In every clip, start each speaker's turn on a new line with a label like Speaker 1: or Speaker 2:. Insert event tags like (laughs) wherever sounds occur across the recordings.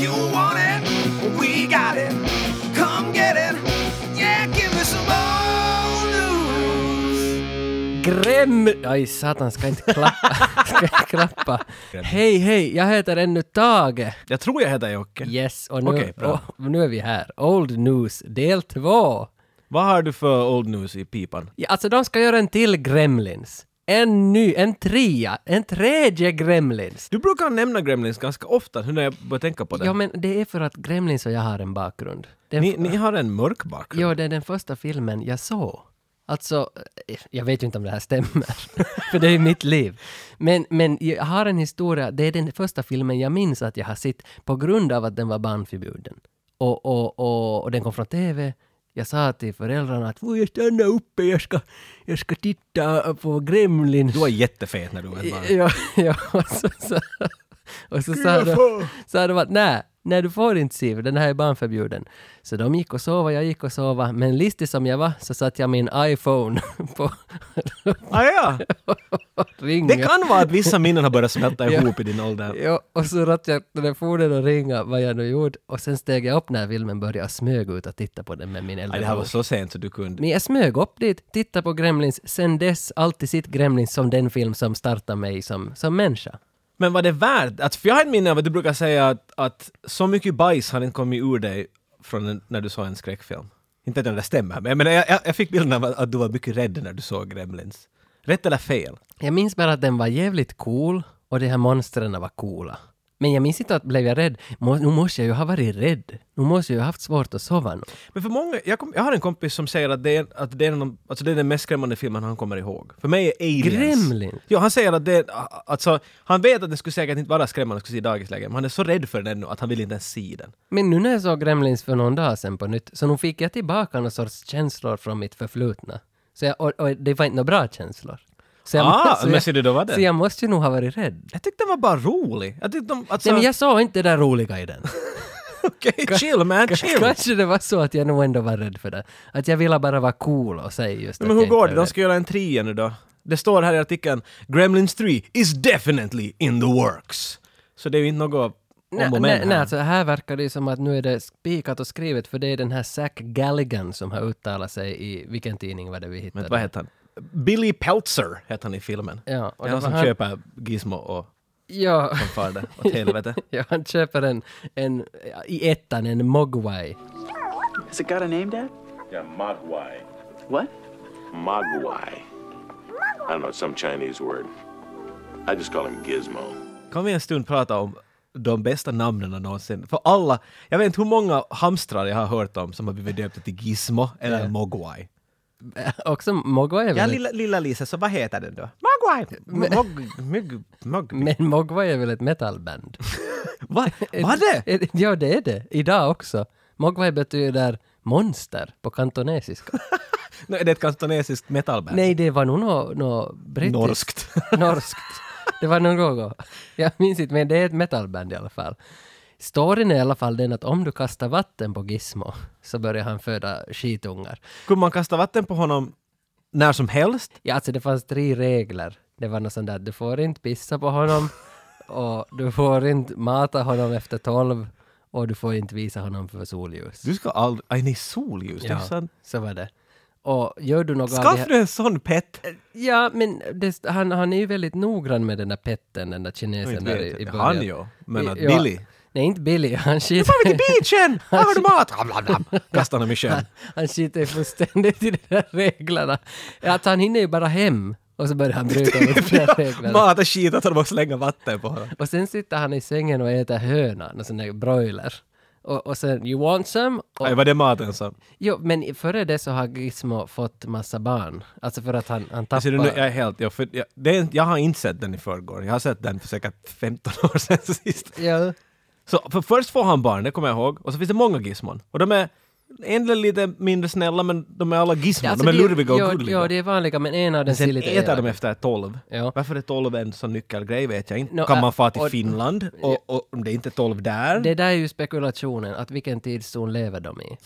Speaker 1: you want it, we got it. Come get it. Yeah, give me some old news.
Speaker 2: Gräm... Aj satan, ska inte klappa. (laughs) ska inte klappa. Hej hej, jag heter ännu Tage.
Speaker 3: Jag tror jag heter Jocke.
Speaker 2: Yes, och nu,
Speaker 3: Okej, bra.
Speaker 2: och nu är vi här. Old News del 2.
Speaker 3: Vad har du för old news i pipan?
Speaker 2: Ja, alltså de ska göra en till Gremlins. En ny, en trea, en tredje Gremlins.
Speaker 3: Du brukar nämna Gremlins ganska ofta, nu när jag börjar tänka på det.
Speaker 2: Ja men det är för att Gremlins och jag har en bakgrund. Den
Speaker 3: ni, ni har en mörk bakgrund.
Speaker 2: Jo, det är den första filmen jag såg. Alltså, eh, jag vet ju inte om det här stämmer, (laughs) för det är ju mitt liv. Men, men jag har en historia, det är den första filmen jag minns att jag har sett på grund av att den var barnförbjuden. Och, och, och, och den kom från TV. Jag sa till föräldrarna att "Får jag stanna uppe, jag ska, jag ska titta på Gremlins.
Speaker 3: Du var jättefet när du var ett barn.
Speaker 2: Ja, (laughs) ja och så, så, och så sa, de, sa de att nej, nej du får inte se för den här är barnförbjuden. Så de gick och sova, jag gick och sova, men listig som jag var så satte jag min iPhone (laughs) på
Speaker 3: Ah, ja.
Speaker 2: och ringa.
Speaker 3: Det kan vara att vissa minnen har börjat smälta
Speaker 2: Ja.
Speaker 3: ihop i din ålder.
Speaker 2: Ja, och så rattade jag telefonen och ringa vad jag nu gjorde och sen steg jag upp när filmen började och smög ut och titta på den med min äldre
Speaker 3: Aj, det här var
Speaker 2: bror.
Speaker 3: så sent så du kunde.
Speaker 2: Men jag smög upp dit, tittade på Gremlins, sen dess alltid sitt Gremlins som den film som startade mig som, som människa.
Speaker 3: Men var det värt att, för jag har ett minne av att du brukar säga att, att så mycket bajs har inte kommit ur dig från en, när du såg en skräckfilm. Inte att det där stämmer, men jag, menar, jag, jag- jag fick bilden av att, att du var mycket rädd när du såg Gremlins. Rätt eller fel?
Speaker 2: Jag minns bara att den var jävligt cool och de här monstren var coola. Men jag minns inte att blev jag rädd. Må, nu måste jag ju ha varit rädd. Nu måste jag ju ha haft svårt att sova nu.
Speaker 3: Men för många, jag, kom, jag har en kompis som säger att det är, att det är, någon, alltså det är den mest skrämmande filmen han kommer ihåg. För mig är Aliens.
Speaker 2: Gremlin?
Speaker 3: Ja, han säger att det är, alltså, han vet att den skulle säkert inte vara skrämmande, skulle se i dagisläget, men han är så rädd för den ännu att han vill inte ens se den.
Speaker 2: Men nu när jag såg Gremlins för någon dag sedan på nytt, så nu fick jag tillbaka någon sorts känslor från mitt förflutna. Så jag, och, och det var inte några bra känslor. Så jag,
Speaker 3: Ah,
Speaker 2: så
Speaker 3: men
Speaker 2: jag,
Speaker 3: ser du, då var det.
Speaker 2: Så jag måste ju nog ha varit rädd.
Speaker 3: Jag tyckte den var bara rolig. Jag tyckte de, alltså,
Speaker 2: Nej, men jag såg inte det där roliga i den.
Speaker 3: (laughs) okej, chill man, chill!
Speaker 2: (laughs) Kanske det var så att jag nog ändå var rädd för det. Att jag ville bara vara cool och säga just
Speaker 3: Men
Speaker 2: att
Speaker 3: hur
Speaker 2: jag
Speaker 3: går
Speaker 2: inte
Speaker 3: det?
Speaker 2: var
Speaker 3: De
Speaker 2: rädd.
Speaker 3: ska göra en trea nu då. Det står här i artikeln “Gremlins 3 is definitely in the works”. Så det är ju inte något om
Speaker 2: Nej,
Speaker 3: och
Speaker 2: nej,
Speaker 3: men
Speaker 2: nej,
Speaker 3: här.
Speaker 2: alltså här verkar det ju som att nu är det spikat och skrivet för det är den här Zack Galligan som har uttalat sig i, vilken tidning var det vi hittade?
Speaker 3: Men vad heter han? Billy Peltzer heter han i filmen.
Speaker 2: Ja, och
Speaker 3: Det är
Speaker 2: det
Speaker 3: Eh, han
Speaker 2: var
Speaker 3: som
Speaker 2: han,
Speaker 3: köper Gizmo och
Speaker 2: ja, (laughs)
Speaker 3: som far det (laughs) åt helvete.
Speaker 2: ja, han köper en, en, i ettan, en Mogwai.
Speaker 4: Has it got a name, Dad?
Speaker 5: Yeah, Mogwai.
Speaker 4: What?
Speaker 5: Mogwai. I don't know, some Chinese word. I just call him Gizmo.
Speaker 3: Kan vi en stund prata om de bästa namnen någonsin? För alla, jag vet inte hur många hamstrar jag har hört om som har blivit döpta till Gizmo eller Mogwai.
Speaker 2: Också Mogwai är
Speaker 3: Eh. Ja,
Speaker 2: väl ett,
Speaker 3: lilla, lilla Lisa, så vad heter den då? Mogwai! Mog... Mog... (laughs) Mog...
Speaker 2: men Mogwai är väl ett metalband?
Speaker 3: Vad vad är det?
Speaker 2: Ett- Ja, det är det. Idag också. Mogwai betyder monster på kantonesiska.
Speaker 3: Nej, är det ett kantonesiskt metalband?
Speaker 2: Nej, det var nog något no, brittiskt.
Speaker 3: Norskt.
Speaker 2: (laughs) Norskt. Det var någon gång. Jag minns inte, men det är ett metalband i alla fall. Storyn är i alla fall den att om du kastar vatten på Gizmo så börjar han föda skitungar.
Speaker 3: Kunde man kasta vatten på honom när som helst?
Speaker 2: Ja, alltså det fanns tre regler. Det var något sånt där, du får inte pissa på honom och du får inte mata honom efter tolv och du får inte visa honom för solljus.
Speaker 3: Du ska aldrig... Aj, nej, solljus. Det är
Speaker 2: Ja,
Speaker 3: sant.
Speaker 2: så var det. Och gör du något av det
Speaker 3: Skaffa
Speaker 2: här-
Speaker 3: du en sån pet?
Speaker 2: Ja, men det, han, han är ju väldigt noggrann med den där petten, den där kinesen
Speaker 3: Inte
Speaker 2: där
Speaker 3: vet
Speaker 2: i, i
Speaker 3: jag.
Speaker 2: början.
Speaker 3: Han ju. Men att
Speaker 2: Ja.
Speaker 3: Billy...
Speaker 2: Nej, inte Billy. Han
Speaker 3: Nu får vi
Speaker 2: (laughs) skiter,
Speaker 3: till beachen! Här har du mat! Ram, ram, ram. Kastar honom i (laughs) sjön.
Speaker 2: han skiter fullständigt i de där reglerna. Att han hinner ju bara hem och så börjar han bryta
Speaker 3: (laughs)
Speaker 2: mot de där reglerna.
Speaker 3: Mata skit att han måste slänga vatten på honom.
Speaker 2: Och sen sitter han i sängen och äter höna, någon sån där broiler. Och, och sen, you want some? Och,
Speaker 3: Aj, var det maten som...
Speaker 2: jo, men före det så har Gizmo fått massa barn. Alltså för att han, han
Speaker 3: Ser du nu,
Speaker 2: tappar...
Speaker 3: jag är helt... Jag, för, jag, det är, jag har inte sett den i förrgår. Jag har sett den för säkert 15 år sedan (laughs) sist.
Speaker 2: Ja.
Speaker 3: Så för först får han barn, det kommer jag ihåg. Och så finns det många gizmon. Och de är en del lite mindre snälla, men de är alla gizmon. de är
Speaker 2: alltså det-
Speaker 3: lurviga och
Speaker 2: ja,
Speaker 3: gulliga.
Speaker 2: Ja, det är vanliga, men en av dem
Speaker 3: men
Speaker 2: ser
Speaker 3: sen
Speaker 2: lite
Speaker 3: äter de
Speaker 2: elak.
Speaker 3: efter tolv.
Speaker 2: Ja.
Speaker 3: Varför är tolv en sån nyckelgrej vet jag inte.
Speaker 2: Nå,
Speaker 3: kan
Speaker 2: äh,
Speaker 3: man fara till
Speaker 2: och-
Speaker 3: Finland och, och om det är inte är tolv där?
Speaker 2: Det där är ju spekulationen, att vilken tidszon lever de i?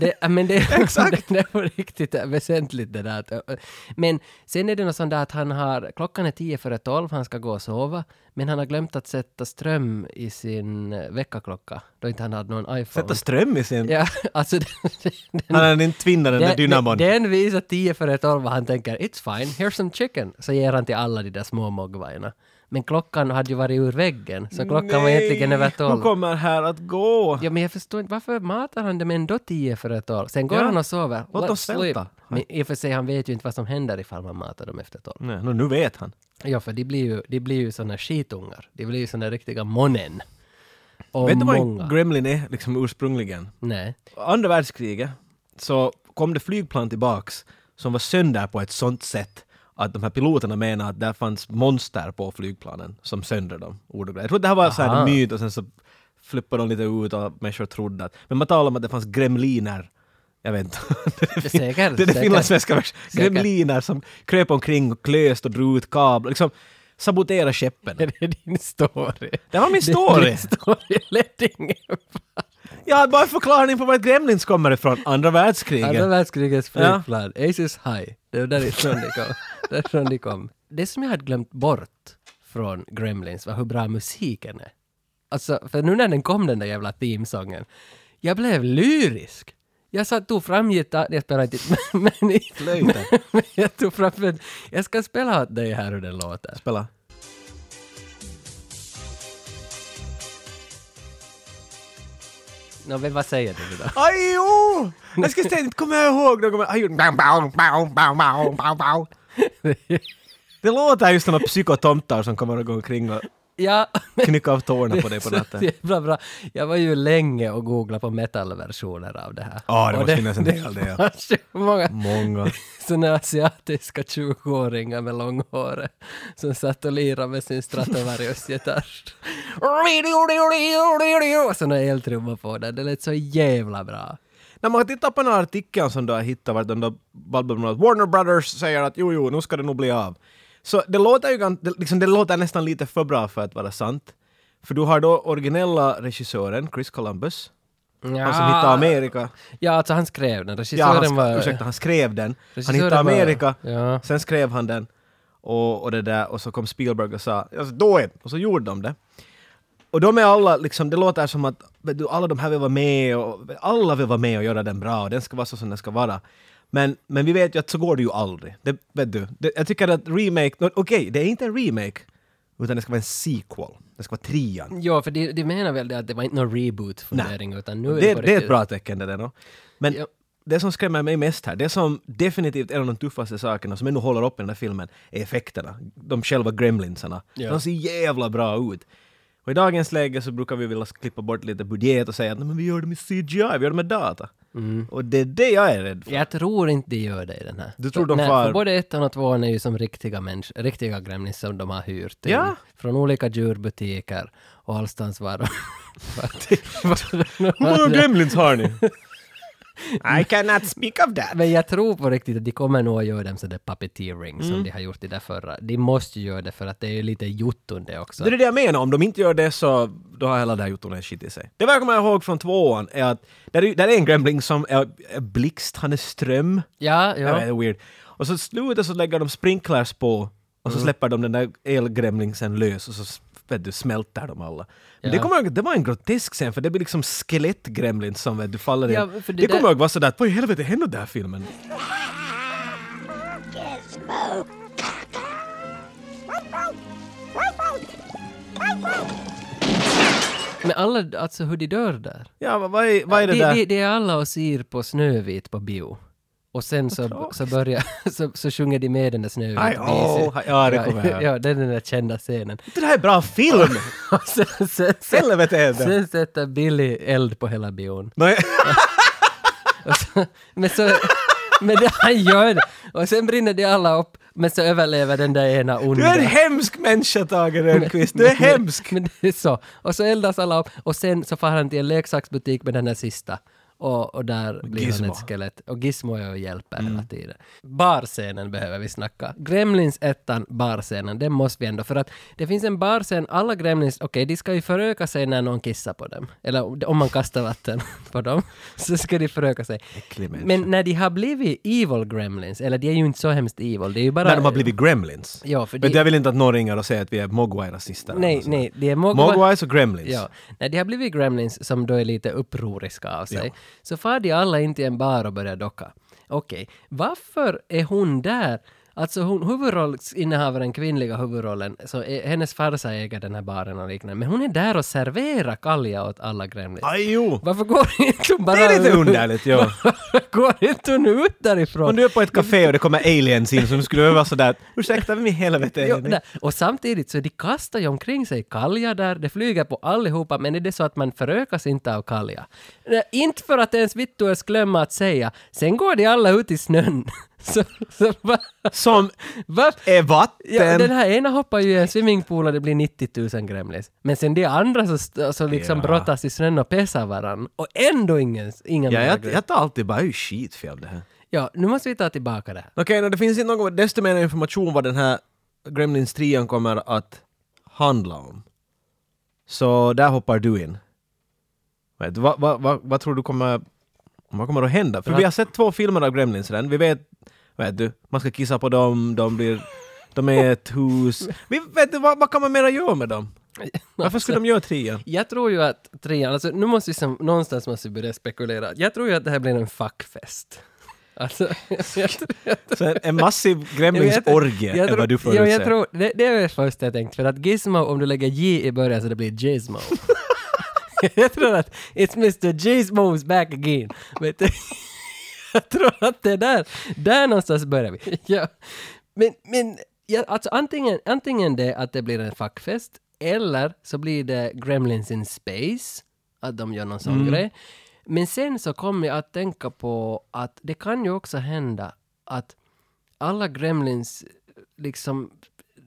Speaker 2: Det, äh, men det,
Speaker 3: (laughs)
Speaker 2: (laughs) det, det är på riktigt äh, väsentligt det där. att, äh, Men sen är det något sånt där att han har, klockan är tio före tolv, han ska gå och sova, Men han har glömt att sätta ström i sin eh, väckarklocka, då inte han hade någon iPhone.
Speaker 3: Sätta ström i sin...
Speaker 2: Ja, (laughs) alltså den, den,
Speaker 3: Han hade inte tvinnat den där
Speaker 2: den,
Speaker 3: dynamon.
Speaker 2: den, den visar 10 före 12 vad han tänker ”It's fine, here's some chicken”, så ger han till alla de där små mogwaiorna. Men klockan hade ju varit ur väggen, så klockan var egentligen över 12.
Speaker 3: hon kommer här att gå!
Speaker 2: Ja, men jag förstår inte, varför matar han dem ändå tio för ett år? Sen går
Speaker 3: Ja.
Speaker 2: han och sover.
Speaker 3: Låt
Speaker 2: Let
Speaker 3: oss svälta.
Speaker 2: sleep. Men i och för sig, han vet ju inte vad som händer ifall man matar dem efter tolv.
Speaker 3: Nej, nå, nu vet han.
Speaker 2: Ja, för de blir ju, de blir ju såna skitungar. De blir ju såna riktiga monen. Och
Speaker 3: vet du vad
Speaker 2: många.
Speaker 3: en Gremlin är liksom ursprungligen?
Speaker 2: Nej. (laughs)
Speaker 3: Andra världskriget så kom det flygplan tillbaks som var sönder på ett sånt sätt att de här piloterna menar att där fanns monster på flygplanen som sönder dem. ordagrant. Jag tror det här var så här
Speaker 2: Aha.
Speaker 3: en myt och sen så flippade de lite ut och människor trodde att... Men man talar om att det fanns gremliner. Jag vet inte. (laughs)
Speaker 2: Det är säkert.
Speaker 3: Det är det
Speaker 2: säkert.
Speaker 3: finlandssvenska vers.
Speaker 2: Säkert.
Speaker 3: Gremliner som kröp omkring och klöst och drog ut kablar. Liksom sabotera skeppen.
Speaker 2: Det är din story.
Speaker 3: Det var min
Speaker 2: Det är
Speaker 3: story!
Speaker 2: Din story (laughs) lät ingen
Speaker 3: Jag hade bara en förklaring på var Gremlins kommer ifrån. Andra världskriget.
Speaker 2: Andra världskrigets flygplan, Aces High. Det var därifrån de kom. därifrån de kom. Det som jag hade glömt bort från Gremlins var hur bra musiken är. Alltså, för nu när den kom den där jävla teamsången, jag blev lyrisk. Jag satt, tog fram gitarr, jag spelar inte, (laughs) men, men,
Speaker 3: Flöjten.
Speaker 2: men jag tog fram en, jag ska spela åt dig här hur den låter.
Speaker 3: Spela.
Speaker 2: Nå, men vad säger du då?
Speaker 3: Aj, jo! Jag ska säga, inte kommer jag ihåg. Då kommer, aj, jo. Bow, bow, bow, bow, bow, bow, bow. Det låter just som psykotomtar som kommer att gå omkring och
Speaker 2: Ja, (laughs) men-
Speaker 3: knycka av tårna på dig på
Speaker 2: (laughs) Så
Speaker 3: natten.
Speaker 2: jävla bra. Jag var ju länge och googlade på metalversioner av det här.
Speaker 3: Ja, det
Speaker 2: Och
Speaker 3: måste finnas en hel del.
Speaker 2: fanns ju många
Speaker 3: Många.
Speaker 2: såna asiatiska 20-åringar med långhåret som satt och lirade med sin Stratovarius-gitarr. (laughs) Och Såna eltrummor på den. Det lät så jävla bra.
Speaker 3: När man tittar på den här artikeln som du har hittat, vart de där balbubblorna, att Warner Brothers säger att jo, jo, nu ska det nog bli av. Så det låter ju gan- det, liksom, det låter nästan lite för bra för att vara sant. För du har då originella regissören Chris Columbus, han som hittade Amerika.
Speaker 2: Ja, alltså han skrev den.
Speaker 3: Ja, han,
Speaker 2: Regissören
Speaker 3: sk-
Speaker 2: var...
Speaker 3: ursäkta, han skrev den. Han
Speaker 2: Regissören
Speaker 3: hittade
Speaker 2: var-
Speaker 3: Amerika,
Speaker 2: Ja.
Speaker 3: sen skrev han den. Och, och det där, och så kom Spielberg och sa alltså, då är Och så gjorde de det. Och de är alla, liksom, det låter som att vet du, alla de här vill vara med och alla vill vara med och göra den bra och den ska vara så som den ska vara. Men, men vi vet ju att så går det ju aldrig. Det, vet du, det, jag tycker att remake, no, okej, det är inte en remake, utan det ska vara en sequel. Det ska vara trian.
Speaker 2: Ja, för de, de menar väl det att det var inte någon reboot-fundering utan nu är
Speaker 3: Det,
Speaker 2: på
Speaker 3: det är ett
Speaker 2: riktigt.
Speaker 3: bra tecken det där då. Men
Speaker 2: Ja.
Speaker 3: det som skrämmer mig mest här, det som definitivt är en av de tuffaste sakerna som ännu håller upp i den här filmen, är effekterna. De själva gremlinsarna.
Speaker 2: Ja.
Speaker 3: De ser jävla bra ut. Och i dagens läge så brukar vi vilja klippa bort lite budget och säga att "Nej, men vi gör det med CGI, vi gör det med data. Och det är det jag är rädd för.
Speaker 2: Jag tror inte de gör det i den här.
Speaker 3: Du tror de
Speaker 2: Nej,
Speaker 3: far-
Speaker 2: för både ettan och tvåan är ju som riktiga människor, riktiga Gremlins som de har hyrt in.
Speaker 3: Ja.
Speaker 2: Från olika djurbutiker och allstans var de... (laughs)
Speaker 3: (laughs) Hur många gremlins har ni? I cannot speak of that.
Speaker 2: Men jag tror på riktigt att de kommer nog att göra dem sådär puppeteering som
Speaker 3: Mm.
Speaker 2: de har gjort i det förra. De måste ju göra det för att det är ju lite jotton det också.
Speaker 3: Det är det jag menar, om de inte gör det så då har hela det här gjort en shit i sig. Det jag kommer ihåg från tvåan är att där är, där är en gremling som är, är blixt, han är ström.
Speaker 2: Ja,
Speaker 3: Ja. Det
Speaker 2: ja.
Speaker 3: är weird. Och så slutet så lägger de sprinklers på och
Speaker 2: Mm.
Speaker 3: så släpper de den där elgremlingsen lös och så vet du, smälter de alla. Men det
Speaker 2: Ja.
Speaker 3: kommer jag ihåg, det var en grotesk scen för det blir liksom skelettgremlins som vet, du faller
Speaker 2: Ja,
Speaker 3: in.
Speaker 2: för
Speaker 3: Det,
Speaker 2: det där-
Speaker 3: kommer jag ihåg var sådär att vad i helvete händer i den här filmen?
Speaker 2: Men alla, alltså hur de dör där.
Speaker 3: Ja, vad, vad, är, vad är det
Speaker 2: Det,
Speaker 3: där?
Speaker 2: det, det är alla och ser på Snövit på bio. Och sen så, så börjar, (laughs) så, så sjunger de med den där
Speaker 3: Aj,
Speaker 2: Snövit.
Speaker 3: åh, ja, det kommer
Speaker 2: (laughs)
Speaker 3: jag ihåg.
Speaker 2: Ja, det är den där kända scenen. (laughs)
Speaker 3: Det här är bra film!
Speaker 2: Och sen, sen, sen,
Speaker 3: Helvete är det!
Speaker 2: sen sätter Billy eld på hela bion.
Speaker 3: Nej.
Speaker 2: Och så, men så... (laughs) Men det han gör det. Och sen brinner de alla upp, men så överlever den där ena onda.
Speaker 3: Du är en hemsk människa Tage Rönnqvist, du är hemsk!
Speaker 2: Men det är så. Och så eldas alla upp och sen så far han till en leksaksbutik med den där sista. Och, och där blir
Speaker 3: Gizmo. Mm.
Speaker 2: han ett skelett. Och Gizmo är och hjälper hela tiden. Barscenen behöver vi snacka. Gremlins ettan, barscenen, den måste vi ändå. För att det finns en barscen, alla Gremlins, okej, de ska ju föröka sig när någon kissar på dem. Eller om- om man kastar vatten (laughs) på dem, så ska de föröka sig.
Speaker 3: Äcklig människa.
Speaker 2: Men när de har blivit evil Gremlins, eller de är ju inte så hemskt evil, det är ju bara...
Speaker 3: När de har blivit gremlins.
Speaker 2: Ja, för
Speaker 3: Men
Speaker 2: det-
Speaker 3: jag vill inte att någon ringer och säger att vi är mogwai-rasister. eller
Speaker 2: Nej,
Speaker 3: något sånt.
Speaker 2: nej, det är Mogwai.
Speaker 3: Mogwais och gremlins.
Speaker 2: Ja. När de har blivit gremlins som då är lite upproriska av sig, så far de alla in till en bar och börjar docka. Okej, varför är hon där? Alltså hon, huvudrollsinnehavaren, kvinnliga huvudrollen, så är, hennes farsa äger den här baren och liknande, men hon är där och serverar kalja åt alla gremlins.
Speaker 3: Aj, jo.
Speaker 2: Varför går inte hon bara
Speaker 3: Det är lite
Speaker 2: ut?
Speaker 3: underligt, ja.
Speaker 2: (laughs) Varför går inte hon ut därifrån?
Speaker 3: Om du är på ett café och det kommer aliens in som skulle vara sådär ”Ursäkta, vem i helvete
Speaker 2: Jo,
Speaker 3: är ni?”
Speaker 2: där. Och samtidigt så de kastar ju omkring sig kalja där, det flyger på allihopa, men är det så att man förökas inte av kalja? Nej, inte för att ens Vittuus glömma att säga, sen går de alla ut i snön. (laughs) så, så va,
Speaker 3: Som
Speaker 2: va?
Speaker 3: är vatten.
Speaker 2: Ja, den här ena hoppar ju i en swimmingpool och det blir 90 000 gremlins. Men sen de andra så, st- så liksom
Speaker 3: Ja.
Speaker 2: brottas i snön och pessar varann. Och ändå ingen, ingen
Speaker 3: ja, jag,
Speaker 2: gremlins.
Speaker 3: jag tar alltid bara ”Det är ju skitfilm det här”.
Speaker 2: ja, nu måste vi ta tillbaka det här.
Speaker 3: Okej, okay, det finns inte någon desto mer information vad den här Gremlins 3 kommer att handla om. Så där hoppar du in. Vet, du, vad, vad, vad, vad tror du kommer, vad kommer att hända? För
Speaker 2: För
Speaker 3: vi
Speaker 2: att-
Speaker 3: har sett två filmer av Gremlins redan. Vi vet, vet du, man ska kissa på dem, de blir de är ett hus. Vi, vet du, vad, vad kan man mera göra med dem? Varför skulle de göra trean?
Speaker 2: Jag tror ju att trean, alltså nu måste vi som, någonstans måste vi börja spekulera. Jag tror ju att det här blir en fuckfest. (laughs) Alltså, jag tror, jag tror,
Speaker 3: Så en, en massiv Gremlins-orgie är vad du
Speaker 2: jo, jag
Speaker 3: förutser.
Speaker 2: tror, det, det är det första jag tänkt, för att Gizmo, om du lägger J i början så det blir
Speaker 3: (laughs)
Speaker 2: Gizmo. (laughs) jag tror att it's Mr. Gizmo's back again. Vet du? jag tror att det är där, där någonstans börjar vi. (laughs) ja. Men, men ja, alltså antingen, antingen det att det blir en fuckfest, eller så blir det Gremlins in Space, att de gör någon sån grej. Men sen så kommer jag att tänka på att det kan ju också hända att alla Gremlins liksom,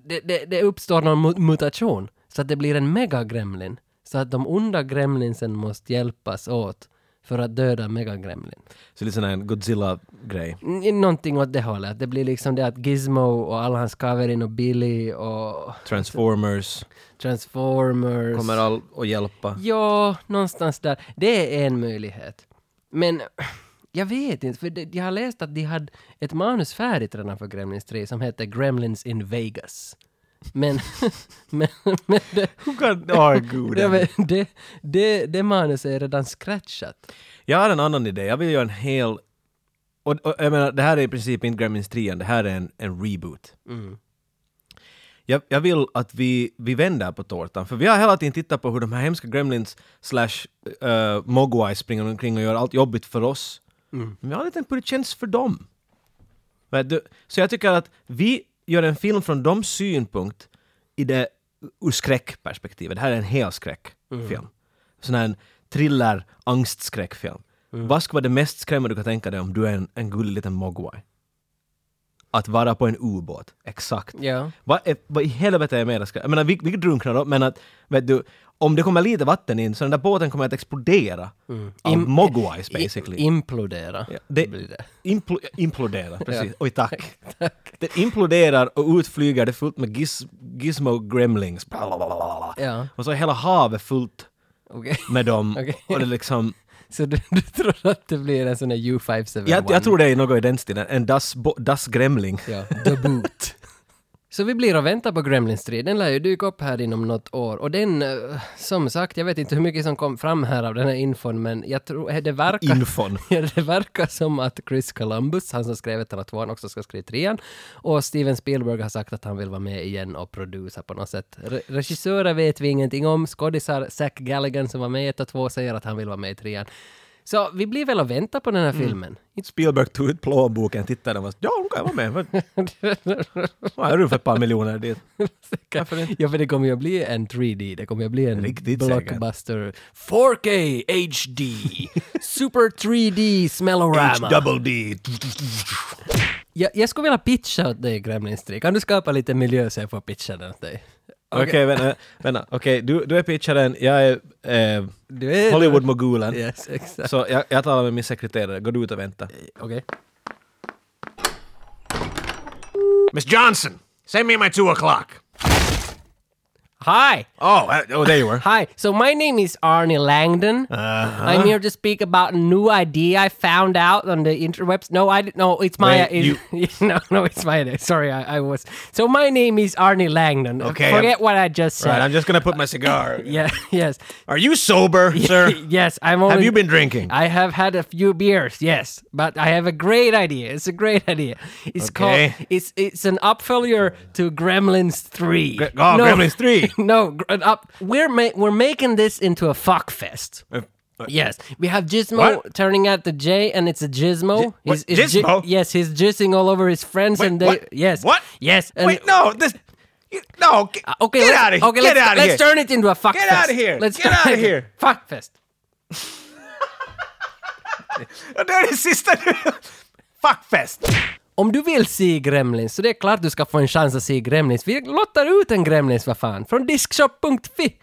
Speaker 2: det, det, det uppstår någon mu- mutation, så att det blir en mega-gremlin. Så att de onda gremlinsen måste hjälpas åt för att döda mega-gremlin.
Speaker 3: Så lite sån här Godzilla-grej.
Speaker 2: N- Någonting åt det hållet. Att Det blir liksom det att Gizmo och alla hans Kaverin och Billy och
Speaker 3: Transformers
Speaker 2: Transformers.
Speaker 3: kommer all att hjälpa.
Speaker 2: Ja, någonstans där. Det är en möjlighet. Men (sniffs) jag vet inte, för det, jag har läst att de hade ett manus färdigt redan för Gremlins 3 som hette Gremlins in Vegas. Men, (laughs) men, men det,
Speaker 3: God, oh, gud.
Speaker 2: det, det, det, det manuset är redan scratchat.
Speaker 3: Jag har en annan idé. Jag vill göra en hel... Och, och jag menar, det här är i princip inte Gremlins 3, det här är en, en reboot. Jag, jag vill att vi, vi vänder på tårtan, för vi har hela tiden tittat på hur de här hemska Gremlins slash uh, Mogwai springer omkring och gör allt jobbigt för oss. Men jag har lite på hur det känns för dem. Vet du? Så jag tycker att vi gör en film från dem synpunkt i det ur skräckperspektivet. Det här är en hel skräckfilm. Sån här en thriller angstskräckfilm. Vad skulle vara det mest skrämmande du kan tänka dig om du är en, en gullig liten mogwai? Att vara på en ubåt. Exakt.
Speaker 2: Ja.
Speaker 3: Vad, är, vad i helvete är mer skrämmande? Jag menar, vi, vi drunknar då, men att vet du, om det kommer lite vatten in så den där båten kommer att explodera. Av
Speaker 2: Mm. Im-
Speaker 3: mogwais basically.
Speaker 2: I, implodera.
Speaker 3: Ja, det,
Speaker 2: blir det.
Speaker 3: Impl implodera, precis. Oj,
Speaker 2: (laughs)
Speaker 3: tack. Det imploderar och utflyger det fullt med giz gizmo gremlings. Blablabla.
Speaker 2: Ja.
Speaker 3: Och så är hela havet fullt
Speaker 2: Okej.
Speaker 3: med dem.
Speaker 2: Okej.
Speaker 3: Och det
Speaker 2: (laughs)
Speaker 3: liksom,
Speaker 2: Så du, du tror att det blir en sån där U571?
Speaker 3: jag, jag tror det är något i den stilen. En das, bo- das gremling.
Speaker 2: Ja, The Boot. Så vi blir och väntar på Gremlins 3. Den lär ju dyka upp här inom något år. Och den, eh, som sagt, jag vet inte hur mycket som kom fram här av den här infon, men jag tror, eh, det verkar...
Speaker 3: Infon.
Speaker 2: Ja, (laughs) det verkar som att Chris Columbus, han som skrev ettan och tvåan, också ska skriva trean. Och Steven Spielberg har sagt att han vill vara med igen och producera på något sätt. Re- regissörer vet vi ingenting om. Skådisar, Zack Galligan som var med i ett och två, säger att han vill vara med i trean. Så vi blir väl och väntar på den här
Speaker 3: Mm.
Speaker 2: filmen. (laughs)
Speaker 3: Spielberg tog ut plånboken, tittade och var så, ja, hon kan vara med. (laughs) Vad är det för ett par miljoner dit? Varför inte?
Speaker 2: Ja, för det kommer ju att bli en 3D, det kommer ju att bli en
Speaker 3: Riktigt
Speaker 2: blockbuster 4K HD Super 3D Smellorama.
Speaker 3: Double D.
Speaker 2: Jag, jag skulle vilja pitcha åt dig Gremlins 3. Kan du skapa lite miljö så jag får pitcha den åt dig?
Speaker 3: Okej, vänta. vänta. Okej, du, du är pitcharen, jag är eh,
Speaker 2: Du är...
Speaker 3: Hollywood-mogulen.
Speaker 2: (laughs) Yes, exakt.
Speaker 3: Så jag, jag talar med min sekreterare, går du ut och vänta?
Speaker 2: Okej.
Speaker 6: Miss Johnson, send me my two o'clock.
Speaker 2: Hi!
Speaker 6: Oh, uh,
Speaker 3: eh,
Speaker 6: oh, there you were.
Speaker 2: Hi, so my name is Arnie Langdon.
Speaker 6: Uh-huh.
Speaker 2: I'm here to speak about a new idea I found out on the interwebs. No, I no, it's my (laughs)
Speaker 6: Wait,
Speaker 2: it- no, no, it's my idea. Sorry, I, I was. So my name is Arnie Langdon.
Speaker 6: Okay,
Speaker 2: forget what I just said.
Speaker 6: Right, I'm just gonna put my cigar.
Speaker 3: (laughs)
Speaker 2: yeah, (laughs) yes,
Speaker 6: Are you sober, sir?
Speaker 2: yes. I'm only.
Speaker 6: Have you been drinking?
Speaker 2: I have had a few beers, yes, but I have a great idea. It's a great idea. It's
Speaker 6: Okay.
Speaker 2: called. It's it's an upfollow to Gremlins Three.
Speaker 6: Gre- oh, Gremlins 3.
Speaker 2: (laughs) no, gr- an up. We're ma- we're making this into a fuck fest.
Speaker 3: Uh,
Speaker 2: Yes, we have Gizmo
Speaker 6: What?
Speaker 2: turning out the J, and it's a Gizmo.
Speaker 6: what?
Speaker 2: He's- he's gi-
Speaker 6: Gizmo?
Speaker 2: yes, he's jizzing all over his friends,
Speaker 6: Wait,
Speaker 2: and they.
Speaker 6: what?
Speaker 2: Yes.
Speaker 6: What?
Speaker 2: Yes. and-
Speaker 6: Wait, no, this. You, no, get,
Speaker 2: Uh, Okay,
Speaker 6: get
Speaker 2: let's-
Speaker 6: out of here.
Speaker 2: Okay,
Speaker 6: get
Speaker 2: let's,
Speaker 6: out of here.
Speaker 2: let's turn it into a fuck
Speaker 6: Get
Speaker 2: fest.
Speaker 6: outta here.
Speaker 2: Let's
Speaker 6: Get
Speaker 2: (laughs) turn
Speaker 6: outta
Speaker 2: it-
Speaker 6: here.
Speaker 2: Fuck fest.
Speaker 6: Det är det (laughs) sista du... Fuckfest!
Speaker 2: Om du vill se Gremlins så det är klart du ska få en chans att se Gremlins. Vi lottar ut en Gremlins, vad fan. Från diskshop.fi. Oh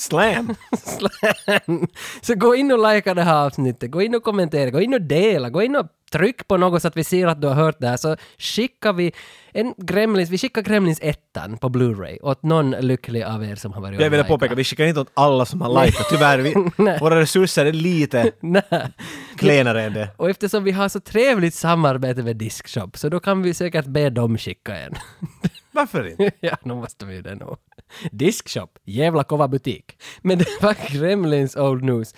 Speaker 6: Slam!
Speaker 2: (laughs) så gå in och likea det här avsnittet, gå in och kommentera, gå in och dela, gå in och tryck på något så att vi ser att du har hört det här. Så skickar vi en Gremlins, vi skickar Gremlins ettan på Blu-ray åt någon lycklig av er som har varit
Speaker 3: Jag vill
Speaker 2: och likat.
Speaker 3: påpeka, vi skickar inte åt alla som har likat, tyvärr. Vi, våra resurser är
Speaker 2: (laughs)
Speaker 3: lite
Speaker 2: (laughs) Nej.
Speaker 3: klenare än det.
Speaker 2: Och eftersom vi har så trevligt samarbete med Diskshop så då kan vi säkert be dem skicka en. (laughs)
Speaker 3: Varför inte?
Speaker 2: ja, nu måste vi det nog. Diskshop, jävla kova butik. Men det var Gremlins Old News.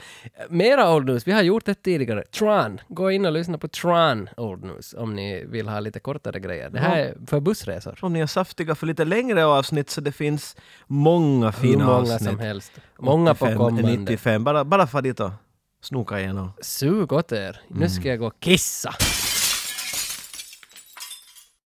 Speaker 2: Mera Old News, vi har gjort det tidigare. Tron, gå in och lyssna på Tron Old News om ni vill ha lite kortare grejer. Det här är för bussresor.
Speaker 3: Om ni är saftiga för lite längre avsnitt så det finns många
Speaker 2: Hur
Speaker 3: fina
Speaker 2: många
Speaker 3: avsnitt.
Speaker 2: som helst. Många på
Speaker 3: 85,
Speaker 2: kommande.
Speaker 3: 95, bara, bara för dit och snoka igenom. Mm.
Speaker 2: Sug åt er. Nu ska jag gå och kissa.